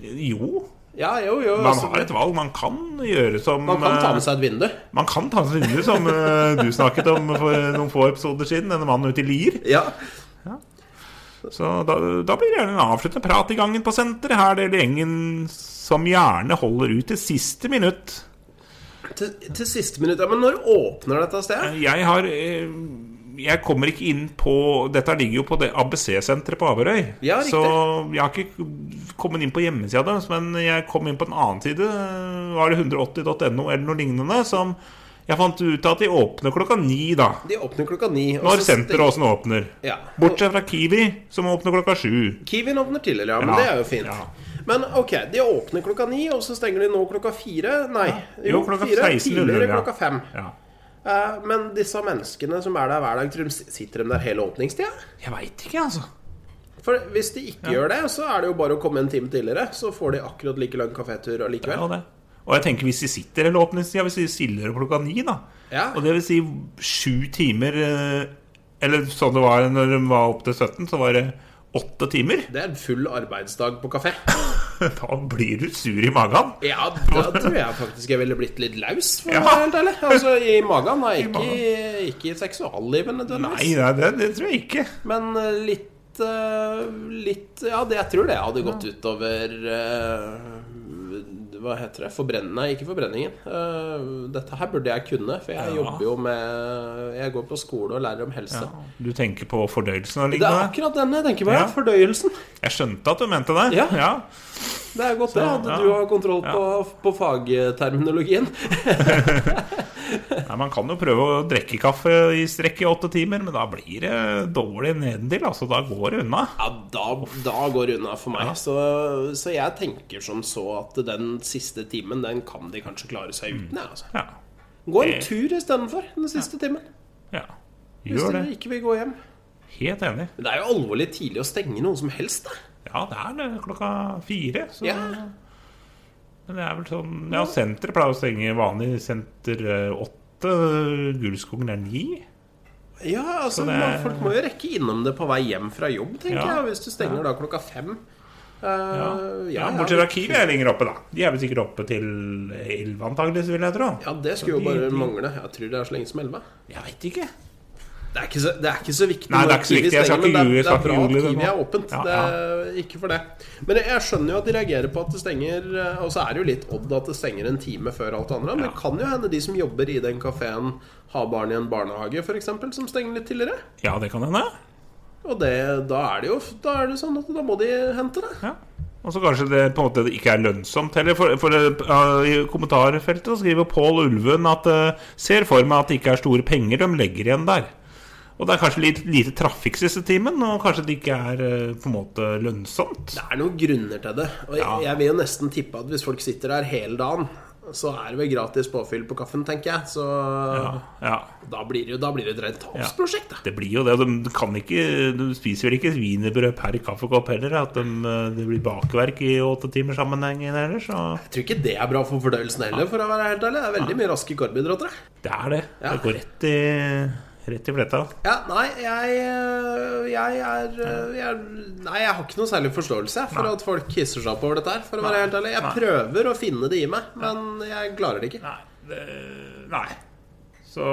[SPEAKER 2] jo,
[SPEAKER 1] Ja, jo, jo.
[SPEAKER 2] man
[SPEAKER 1] altså,
[SPEAKER 2] har et valg. Man kan gjøre som
[SPEAKER 1] man kan ta
[SPEAKER 2] eh,
[SPEAKER 1] med seg et vindu.
[SPEAKER 2] Man kan ta med seg vinduet, som eh, du snakket om for noen få episoder siden. Denne mannen ute i Lier.
[SPEAKER 1] Ja.
[SPEAKER 2] Så da, da blir det gjerne en avsluttende prat i gangen på senteret. Her deler gjengen som gjerne holder ut til siste minutt.
[SPEAKER 1] Til, til siste minutt. Ja, men når åpner dette stedet?
[SPEAKER 2] Jeg har eh, jeg kommer ikke inn på Dette ligger jo på det ABC-senteret på Averøy.
[SPEAKER 1] Ja, riktig.
[SPEAKER 2] så jeg har ikke kommet inn på hjemmesida deres, men jeg kom inn på en annen side. Var det 180.no eller noe lignende? Som jeg fant ut at de åpner klokka ni, da.
[SPEAKER 1] De åpner klokka ni. og
[SPEAKER 2] Når
[SPEAKER 1] så
[SPEAKER 2] senteret
[SPEAKER 1] steng-
[SPEAKER 2] åssen åpner.
[SPEAKER 1] Ja.
[SPEAKER 2] Bortsett fra Kiwi, som åpner klokka sju.
[SPEAKER 1] Kiwien åpner tidligere, ja, men
[SPEAKER 2] Ja.
[SPEAKER 1] det er jo fint.
[SPEAKER 2] Ja.
[SPEAKER 1] Men ok, de åpner klokka ni, og så stenger de nå klokka fire. Nei,
[SPEAKER 2] Jo, klokka
[SPEAKER 1] fire.
[SPEAKER 2] 16.00,
[SPEAKER 1] Tidligere
[SPEAKER 2] ja.
[SPEAKER 1] klokka fem.
[SPEAKER 2] Ja.
[SPEAKER 1] Eh, men disse menneskene som er der hver dag, tror de, sitter de der hele åpningstida?
[SPEAKER 2] Jeg veit ikke, altså.
[SPEAKER 1] For hvis de ikke gjør det, så er det jo bare å komme en time tidligere. Så får de akkurat like lang kafétur
[SPEAKER 2] Ja,
[SPEAKER 1] allikevel.
[SPEAKER 2] det. Og jeg tenker hvis de sitter eller åpningstida, hvis de stiller klokka ni, da
[SPEAKER 1] Ja.
[SPEAKER 2] Og det vil si sju timer eh, Eller sånn det var når de var opp til 17, så var det åtte timer.
[SPEAKER 1] Det er en full arbeidsdag på kafé.
[SPEAKER 2] Da blir du sur i magen.
[SPEAKER 1] Ja, da tror jeg faktisk jeg ville blitt litt laus, for å
[SPEAKER 2] Ja.
[SPEAKER 1] være helt ærlig. Altså, i magen, da. Ikke
[SPEAKER 2] magen.
[SPEAKER 1] i, ikke i seksuallivet
[SPEAKER 2] Nei,
[SPEAKER 1] nødvendigvis.
[SPEAKER 2] nei det, det tror jeg ikke.
[SPEAKER 1] Men eh, litt eh, Litt Ja, det, jeg tror det hadde gått utover eh, Hva heter det? Forbrenn... Nei, ikke forbrenningen. Eh, dette her burde jeg kunne, for jeg
[SPEAKER 2] Ja.
[SPEAKER 1] jobber jo med Jeg går på skole og lærer om helse.
[SPEAKER 2] Du tenker på fordøyelsen og
[SPEAKER 1] Det er
[SPEAKER 2] lignende?
[SPEAKER 1] akkurat denne jeg tenker på. Ja.
[SPEAKER 2] Ja.
[SPEAKER 1] Fordøyelsen.
[SPEAKER 2] Jeg skjønte at du mente det.
[SPEAKER 1] Ja.
[SPEAKER 2] ja.
[SPEAKER 1] Det er godt, det. At
[SPEAKER 2] ja.
[SPEAKER 1] du har kontroll
[SPEAKER 2] Ja.
[SPEAKER 1] på, på fagterminologien.
[SPEAKER 2] Nei, Man kan jo prøve å drikke kaffe i strekk i åtte timer, men da blir det dårlig nedentil. Altså, da går det unna.
[SPEAKER 1] Ja, da, da går det unna for meg. Så, så jeg tenker som så at den siste timen, den kan de kanskje klare seg uten. jeg, Altså.
[SPEAKER 2] Ja.
[SPEAKER 1] Gå en tur istedenfor den siste timen.
[SPEAKER 2] ja.
[SPEAKER 1] Hvis
[SPEAKER 2] Gjør det.
[SPEAKER 1] dere ikke vil gå hjem.
[SPEAKER 2] Helt enig.
[SPEAKER 1] Men det er jo alvorlig tidlig å stenge noe som helst, da.
[SPEAKER 2] Ja, det er det. Klokka fire. Så.
[SPEAKER 1] Ja.
[SPEAKER 2] Men det er vel sånn Ja, senteret pleier å stenge vanlig senter eh, åtte. Gullskogen er ni.
[SPEAKER 1] Ja, altså,
[SPEAKER 2] Så det er-
[SPEAKER 1] man- Folk må jo rekke innom det på vei hjem fra jobb, tenker
[SPEAKER 2] Ja.
[SPEAKER 1] jeg. Hvis du stenger da klokka fem. Eh,
[SPEAKER 2] Ja.
[SPEAKER 1] ja, ja.
[SPEAKER 2] ja, Bortsett fra Kiwi er lenger oppe, da. De er vel sikkert oppe til elleve, antakeligvis, vil jeg tro.
[SPEAKER 1] ja, det skulle jo
[SPEAKER 2] Så de-
[SPEAKER 1] bare
[SPEAKER 2] de-
[SPEAKER 1] mangle. Jeg tror det er så lenge som elleve.
[SPEAKER 2] Jeg veit ikke.
[SPEAKER 1] Det er, ikke så, det er ikke så viktig
[SPEAKER 2] Nei, det
[SPEAKER 1] når
[SPEAKER 2] er ikke så
[SPEAKER 1] Kiwi
[SPEAKER 2] viktig. Jeg skal
[SPEAKER 1] stenger,
[SPEAKER 2] ikke
[SPEAKER 1] men det er-
[SPEAKER 2] ljuge, jeg skal
[SPEAKER 1] Det er bra
[SPEAKER 2] ikke ljuge
[SPEAKER 1] at
[SPEAKER 2] det
[SPEAKER 1] Kiwi
[SPEAKER 2] nå.
[SPEAKER 1] er åpent.
[SPEAKER 2] Ja,
[SPEAKER 1] Det er ikke for det. Men jeg skjønner jo at de reagerer på at det stenger eh, Og så er det jo litt odd at det stenger en time før alt det andre. Men det kan jo hende de som jobber i den kafeen, har barn i en barnehage f.eks., som stenger litt tidligere.
[SPEAKER 2] Ja, det kan hende.
[SPEAKER 1] Og det, da er det jo Da er det sånn at da må de hente det.
[SPEAKER 2] Ja. Og så kanskje det på en måte ikke er lønnsomt heller. For, for eh, I kommentarfeltet så skriver Pål Ulven at eh, ser for meg at det ikke er store penger de legger igjen der. Og det er kanskje litt lite trafikk siste timen, og kanskje det ikke er eh, på en måte lønnsomt.
[SPEAKER 1] Det er noen grunner til det. Og jeg,
[SPEAKER 2] Ja.
[SPEAKER 1] jeg vil jo nesten tippe at hvis folk sitter der hele dagen, så er det vel gratis påfyll på kaffen, tenker jeg. Så
[SPEAKER 2] Ja, ja.
[SPEAKER 1] da blir det jo da blir det et rent tapsprosjekt, da.
[SPEAKER 2] Det blir jo det. og De, kan ikke, de spiser vel ikke wienerbrød per kaffekopp heller. At de, eh, det blir bakverk i åttetimerssammenhengen ellers. Og
[SPEAKER 1] Jeg tror ikke det er bra for fordøyelsen heller, for å være helt ærlig. Det er veldig mye raske karbohydrater. jeg.
[SPEAKER 2] det er det. Det går rett i, rett i fletta.
[SPEAKER 1] Ja, nei, jeg, øh, jeg er øh, jeg, Nei, jeg har ikke noe særlig forståelse jeg, for at folk hisser seg opp over dette her, for å være helt ærlig. Jeg
[SPEAKER 2] Nei.
[SPEAKER 1] prøver å finne det i meg, men jeg klarer det ikke.
[SPEAKER 2] Nei. Det, nei. Så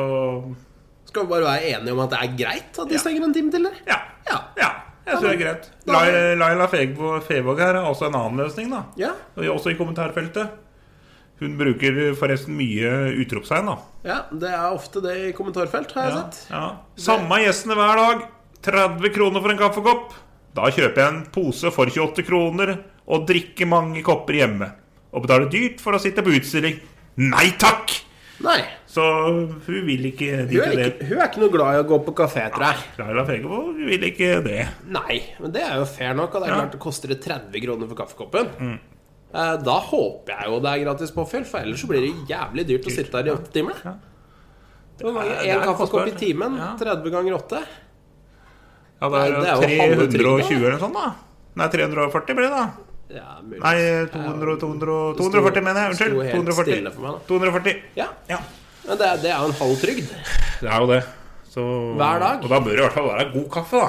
[SPEAKER 1] Skal vi bare være enige om at det er greit at de stenger en time til, eller?
[SPEAKER 2] Ja.
[SPEAKER 1] Ja.
[SPEAKER 2] ja. Jeg tror det er greit.
[SPEAKER 1] Da-
[SPEAKER 2] Lai- Laila Fevåg Fevåg her er også en annen løsning, da.
[SPEAKER 1] Ja.
[SPEAKER 2] Og Også i kommentarfeltet. Hun bruker forresten mye utropstegn, da.
[SPEAKER 1] ja det er ofte det i kommentarfelt, har jeg sett.
[SPEAKER 2] Ja. Samme gjestene hver dag. 30 kroner for en kaffekopp. Da kjøper jeg en pose for 28 kroner og drikker mange kopper hjemme. Og betaler dyrt for å sitte på utstilling. Nei takk!
[SPEAKER 1] Nei.
[SPEAKER 2] Så hun vil ikke dit
[SPEAKER 1] Hun er,
[SPEAKER 2] i det.
[SPEAKER 1] ikke, hun er ikke noe glad i å gå på kafé, tror jeg.
[SPEAKER 2] Laila Fegevåg vil ikke det.
[SPEAKER 1] Nei, men det er jo fair nok. Og det er klart det koster det 30 kroner for kaffekoppen.
[SPEAKER 2] Mm.
[SPEAKER 1] Eh, Da håper jeg jo det er gratis påfyll, for ellers så blir det jævlig dyrt å sitte her i åtte timer. da. Hvor mange-
[SPEAKER 2] det er
[SPEAKER 1] En kaffekopp i
[SPEAKER 2] kostbart.
[SPEAKER 1] timen,
[SPEAKER 2] Ja.
[SPEAKER 1] 30 ganger 8.
[SPEAKER 2] Ja, det er,
[SPEAKER 1] Nei, det er jo halve trygda,
[SPEAKER 2] 320 eller noe sånt, da. Nei, 340 blir det, da.
[SPEAKER 1] Ja, mulig.
[SPEAKER 2] Nei, 200, 200,
[SPEAKER 1] sto-
[SPEAKER 2] 240 mener jeg.
[SPEAKER 1] sto helt
[SPEAKER 2] Unnskyld.
[SPEAKER 1] stille for meg, da.
[SPEAKER 2] 240. 240.
[SPEAKER 1] Ja,
[SPEAKER 2] Ja,
[SPEAKER 1] men det er, det er jo en halv trygd.
[SPEAKER 2] det er jo det. Så,
[SPEAKER 1] Hver dag?
[SPEAKER 2] Og da bør det i hvert fall være god kaffe,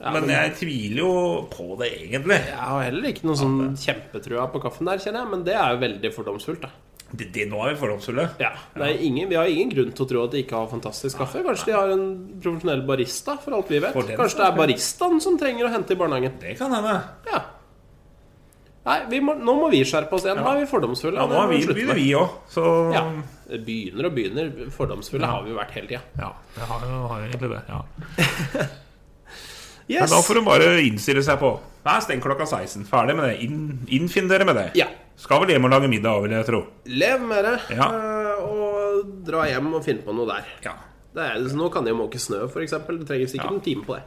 [SPEAKER 2] da. men,
[SPEAKER 1] men-
[SPEAKER 2] jeg tviler jo på det, egentlig.
[SPEAKER 1] Jeg har heller ikke noe sånn kjempetrua på kaffen der, kjenner jeg, men det er jo veldig fordomsfullt, da.
[SPEAKER 2] Det, det, nå er vi fordomsfulle.
[SPEAKER 1] Ja, det er ingen, Vi har ingen grunn til å tro at de ikke har fantastisk kaffe. Kanskje de har en profesjonell barista, for alt vi vet.
[SPEAKER 2] For den
[SPEAKER 1] Kanskje det er baristaen som trenger å hente i barnehagen.
[SPEAKER 2] Det kan hende.
[SPEAKER 1] Ja. Nei, vi må, nå må vi skjerpe oss igjen. Nå er vi fordomsfulle.
[SPEAKER 2] Ja,
[SPEAKER 1] og det
[SPEAKER 2] nå er
[SPEAKER 1] må
[SPEAKER 2] vi,
[SPEAKER 1] slutte med.
[SPEAKER 2] begynner vi òg, så
[SPEAKER 1] Ja. Begynner og begynner. Fordomsfulle har vi jo vært hele tida.
[SPEAKER 2] Ja, det har jo har jo egentlig det. Ja. Men
[SPEAKER 1] Yes.
[SPEAKER 2] da får hun bare innstille seg på. Nei, steng klokka 16. Ferdig med det. Inn, innfinn dere med det.
[SPEAKER 1] Ja.
[SPEAKER 2] Skal vel hjem og lage middag òg, vil jeg tro.
[SPEAKER 1] Lev med det,
[SPEAKER 2] Ja.
[SPEAKER 1] eh, og dra hjem og finne på noe der.
[SPEAKER 2] Ja.
[SPEAKER 1] Det er, nå kan de måke snø, f.eks. Det trengs sikkert en time på det.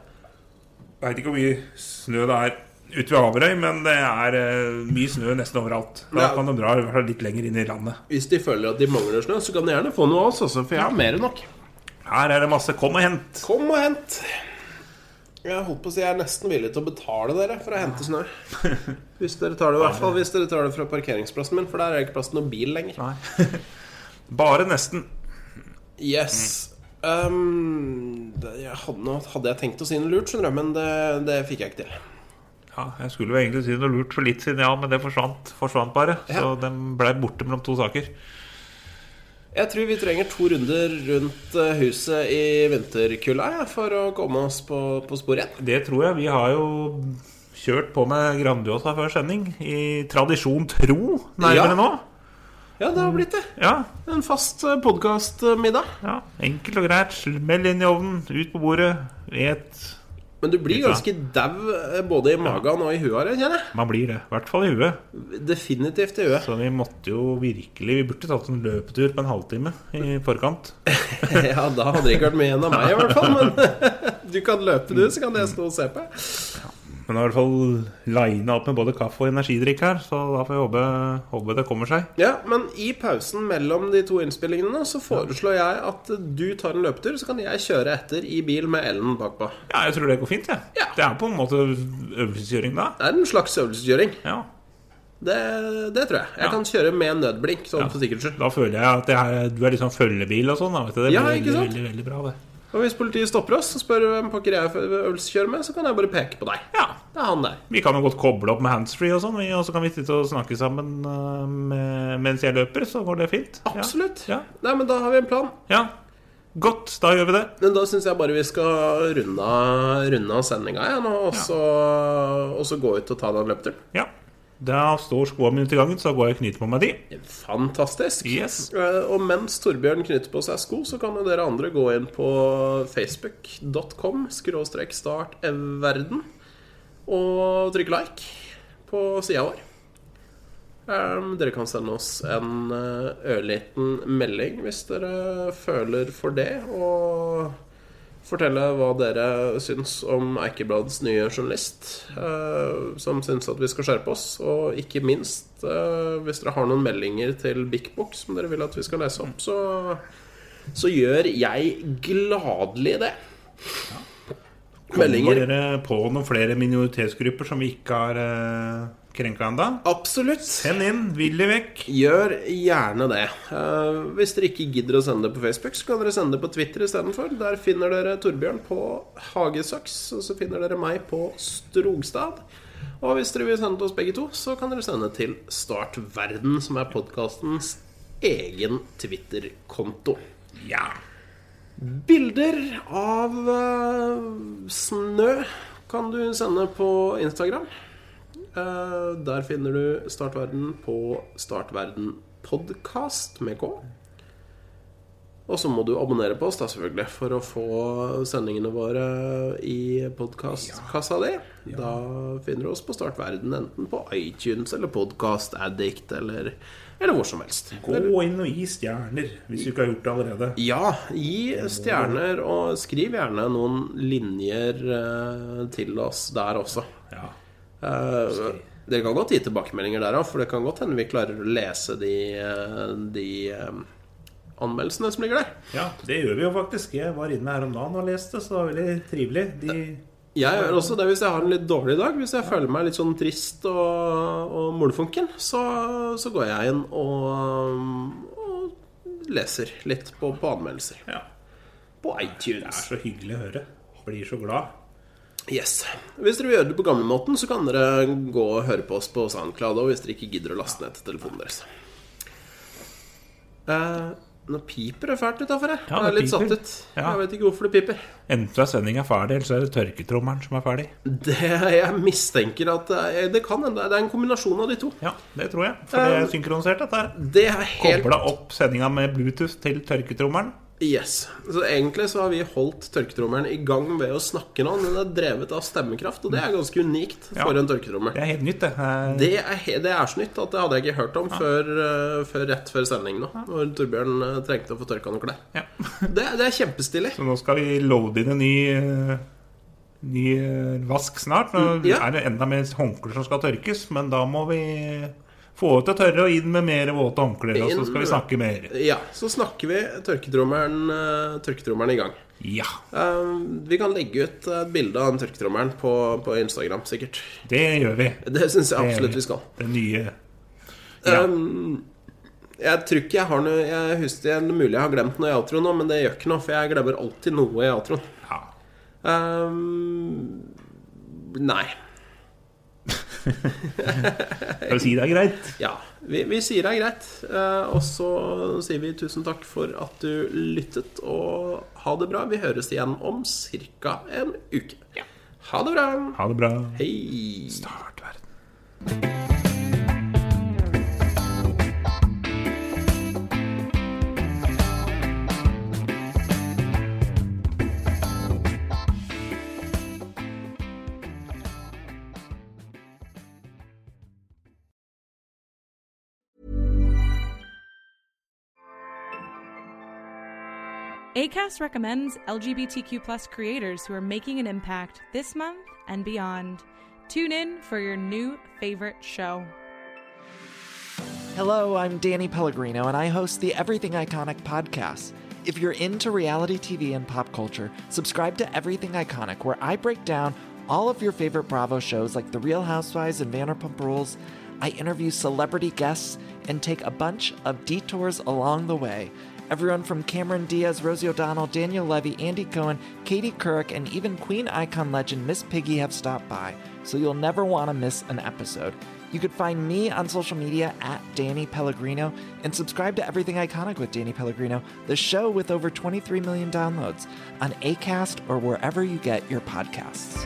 [SPEAKER 2] Veit ikke hvor mye snø det er ute ved Averøy, men det er eh, mye snø nesten overalt.
[SPEAKER 1] Ja.
[SPEAKER 2] Da kan de dra i hvert fall litt lenger inn i landet.
[SPEAKER 1] Hvis de føler at de mangler snø, så kan de gjerne få noe av oss, altså, for jeg har mer enn nok.
[SPEAKER 2] Her er det masse kom og hent.
[SPEAKER 1] Kom og hent. Jeg holdt på å si jeg er nesten villig til å betale dere for å hente snø. Hvis dere tar det, i hvert fall hvis dere tar det fra parkeringsplassen min, for der er det ikke plass til noen bil lenger.
[SPEAKER 2] Bare nesten.
[SPEAKER 1] Yes. Um, det, jeg hadde, nå- hadde jeg tenkt å si noe lurt, skjønner du, men det, det fikk jeg ikke til.
[SPEAKER 2] Ja, jeg skulle jo egentlig si noe lurt for litt siden, ja, men det forsvant, forsvant bare.
[SPEAKER 1] Ja.
[SPEAKER 2] Så den blei borte mellom to saker.
[SPEAKER 1] Jeg tror vi trenger to runder rundt eh, huset i vinterkulda ja, for å komme oss på, på sporet igjen.
[SPEAKER 2] Det tror jeg. Vi har jo kjørt på med Grandiosa før sending. I tradisjon tro, nærmere
[SPEAKER 1] Ja.
[SPEAKER 2] nå.
[SPEAKER 1] Ja, det har blitt det.
[SPEAKER 2] Ja,
[SPEAKER 1] En fast eh, podkastmiddag.
[SPEAKER 2] ja. Enkelt og greit. Smell inn i ovnen, ut på bordet, et
[SPEAKER 1] Men du blir
[SPEAKER 2] Ikke
[SPEAKER 1] ganske dau eh, både i magen og i huet, her, kjenner jeg.
[SPEAKER 2] Man blir det. I hvert fall i huet.
[SPEAKER 1] Definitivt i huet.
[SPEAKER 2] Så vi måtte jo virkelig Vi burde tatt en løpetur på en halvtime i forkant.
[SPEAKER 1] Ja, da hadde det ikke vært mye igjen av meg, i hvert fall. Men du kan løpe, du, så kan jeg stå og se på.
[SPEAKER 2] Men det er i hvert fall lina opp med både kaffe og energidrikk her, så da får jeg håpe, håpe det kommer seg.
[SPEAKER 1] Ja, men i pausen mellom de to innspillingene så foreslår jeg at du tar en løpetur, så kan jeg kjøre etter i bil med Ellen bakpå.
[SPEAKER 2] Ja, jeg tror det går fint, jeg.
[SPEAKER 1] Ja.
[SPEAKER 2] Det er på en måte øvelseskjøring da.
[SPEAKER 1] Det er en slags øvelseskjøring.
[SPEAKER 2] Ja.
[SPEAKER 1] Det, det tror jeg. Jeg
[SPEAKER 2] Ja.
[SPEAKER 1] kan kjøre med nødblink, sånn for sikkerhets skyld.
[SPEAKER 2] Da føler jeg at det er, du er liksom følgebil og sånn. da, vet du. Det blir
[SPEAKER 1] Ja, ikke
[SPEAKER 2] veldig,
[SPEAKER 1] sant?
[SPEAKER 2] veldig, veldig bra, det.
[SPEAKER 1] Og hvis politiet stopper oss og spør hvem pokker jeg øvelseskjører med, så kan jeg bare peke på deg.
[SPEAKER 2] Ja.
[SPEAKER 1] Det er han der.
[SPEAKER 2] Vi kan jo godt koble opp med handsfree og sånn, vi- og så kan vi sitte og snakke sammen eh, med, mens jeg løper. Så går det fint. Ja.
[SPEAKER 1] Absolutt.
[SPEAKER 2] Ja.
[SPEAKER 1] Nei, men da har vi en plan.
[SPEAKER 2] ja. Godt, da gjør vi det.
[SPEAKER 1] Men da syns jeg bare vi skal runde av- runde av sendinga igjen, og, så, og så gå ut og ta den løpeturen.
[SPEAKER 2] Ja. Da står skoa mine til gangen, så går jeg og knyter på meg de.
[SPEAKER 1] Fantastisk.
[SPEAKER 2] Yes.
[SPEAKER 1] Eh, Og mens Torbjørn knytter på seg sko, så kan jo dere andre gå inn på facebook.com skråstrek start verden og trykke like på sida vår. Ehm, dere kan sende oss en eh, ørliten melding hvis dere føler for det, og fortelle hva dere syns om Eikeblads nye journalist, eh, som syns at vi skal skjerpe oss. Og ikke minst, eh, hvis dere har noen meldinger til Big Book som dere vil at vi skal lese opp, så, så gjør jeg gladelig det.
[SPEAKER 2] Kommer
[SPEAKER 1] Meldinger.
[SPEAKER 2] dere på noen flere minoritetsgrupper som vi ikke har eh, krenka ennå?
[SPEAKER 1] Absolutt.
[SPEAKER 2] Send inn, villig vekk.
[SPEAKER 1] Gjør gjerne det. Eh, hvis dere ikke gidder å sende det på Facebook, så kan dere sende det på Twitter istedenfor. Der finner dere Torbjørn på Hagesaks, og så finner dere meg på Strogstad. Og hvis dere vil sende til oss begge to, så kan dere sende til Start Verden, som er podkastens egen Twitter-konto.
[SPEAKER 2] Ja.
[SPEAKER 1] Bilder av eh, snø kan du sende på Instagram. Eh, der finner du Startverden på Startverden podcast med K. Og så må du abonnere på oss da selvfølgelig for å få sendingene våre i podkastkassa di. Da finner du oss på Startverden enten på iTunes eller Podcast Addict eller, eller hvor som helst.
[SPEAKER 2] Gå inn og gi stjerner, hvis du ikke har gjort det allerede.
[SPEAKER 1] Ja, gi stjerner, og skriv gjerne noen linjer eh, til oss der også.
[SPEAKER 2] Ja.
[SPEAKER 1] Eh, dere kan godt gi tilbakemeldinger der òg, for det kan godt hende vi klarer å lese de, eh, de eh, anmeldelsene som ligger der.
[SPEAKER 2] ja, det gjør vi jo faktisk. Jeg var inne her om dagen og leste, så det var veldig trivelig. De
[SPEAKER 1] Jeg gjør også det hvis jeg har en litt dårlig dag. Hvis jeg føler meg litt sånn trist og, og molefunken, så, så går jeg inn og, og leser litt på, på anmeldelser.
[SPEAKER 2] ja,
[SPEAKER 1] På
[SPEAKER 2] det
[SPEAKER 1] iTunes.
[SPEAKER 2] er så hyggelig å høre. Blir så glad.
[SPEAKER 1] Yes. Hvis dere vil gjøre det på gamlemåten, så kan dere gå og høre på oss på SoundCloud og hvis dere ikke gidder å laste ned til telefonen deres. Eh, Nå piper det fælt utafor her.
[SPEAKER 2] Ja,
[SPEAKER 1] jeg er
[SPEAKER 2] det
[SPEAKER 1] litt satt
[SPEAKER 2] piper.
[SPEAKER 1] ut.
[SPEAKER 2] Ja.
[SPEAKER 1] Jeg vet ikke hvorfor det piper.
[SPEAKER 2] Enten så er sendinga ferdig, eller så er det tørketrommelen som er ferdig.
[SPEAKER 1] Det, jeg mistenker at det, det kan hende. Det er en kombinasjon av de to.
[SPEAKER 2] Ja, det tror jeg. For det er synkronisert, dette her.
[SPEAKER 1] Eh, Det er helt
[SPEAKER 2] Kobla opp sendinga med Bluetooth til tørketrommelen.
[SPEAKER 1] Yes. Så egentlig så har vi holdt tørketrommelen i gang ved å snakke nå. Den er drevet av stemmekraft, og det er ganske unikt
[SPEAKER 2] Mm. Ja.
[SPEAKER 1] for en tørketrommel.
[SPEAKER 2] Det er helt nytt, det. Eh,
[SPEAKER 1] Det er, he- det er så nytt at det hadde jeg ikke hørt om før, eh, før rett før sending nå. Når Torbjørn eh, trengte å få tørka noen klær.
[SPEAKER 2] Ja.
[SPEAKER 1] Det, det er kjempestilig.
[SPEAKER 2] Så nå skal vi loade inn en ny, eh, ny eh, vask snart. Nå
[SPEAKER 1] Mm, ja.
[SPEAKER 2] er det enda mer håndklær som skal tørkes, men da må vi få ut det tørre og inn med mer våte håndklær, og så
[SPEAKER 1] Inn
[SPEAKER 2] skal
[SPEAKER 1] med-
[SPEAKER 2] vi snakke mer.
[SPEAKER 1] Ja, så snakker vi tørketrommelen, eh, tørketrommelen i gang.
[SPEAKER 2] Ja,
[SPEAKER 1] Eh, Vi kan legge ut et bilde av den tørketrommelen på, på Instagram, sikkert.
[SPEAKER 2] det gjør vi.
[SPEAKER 1] Det syns jeg absolutt vi skal.
[SPEAKER 2] Det nye Ja.
[SPEAKER 1] Um, jeg tror ikke jeg har noe Jeg husker det er mulig jeg har glemt noe i outroen nå, men det gjør ikke noe, for jeg glemmer alltid noe i outroen.
[SPEAKER 2] ja.
[SPEAKER 1] Um, nei.
[SPEAKER 2] Skal vi si det er greit?
[SPEAKER 1] Ja. Vi, vi sier det er greit. Eh, og så sier vi tusen takk for at du lyttet, og ha det bra. Vi høres igjen om ca. en uke. Ha det bra.
[SPEAKER 2] Ha det bra.
[SPEAKER 1] Hei.
[SPEAKER 2] Start verden.
[SPEAKER 3] ACAST recommends LGBTQ plus creators who are making an impact this month and beyond. Tune in for your new favorite show.
[SPEAKER 4] Hello, I'm Danny Pellegrino, and I host the Everything Iconic podcast. If you're into reality TV and pop culture, subscribe to Everything Iconic, where I break down all of your favorite Bravo shows like The Real Housewives and Vanderpump Rules. I interview celebrity guests and take a bunch of detours along the way. Everyone from Cameron Diaz, Rosie O'Donnell, Daniel Levy, Andy Cohen, Katie Couric, and even Queen icon legend Miss Piggy have stopped by, so you'll never want to miss an episode. You could find me on social media at Danny Pellegrino and subscribe to Everything Iconic with Danny Pellegrino, the show with over 23 million downloads on ACAST or wherever you get your podcasts.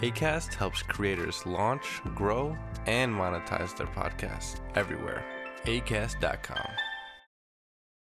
[SPEAKER 5] ACAST helps creators launch, grow, and monetize their podcasts everywhere. ACAST.com.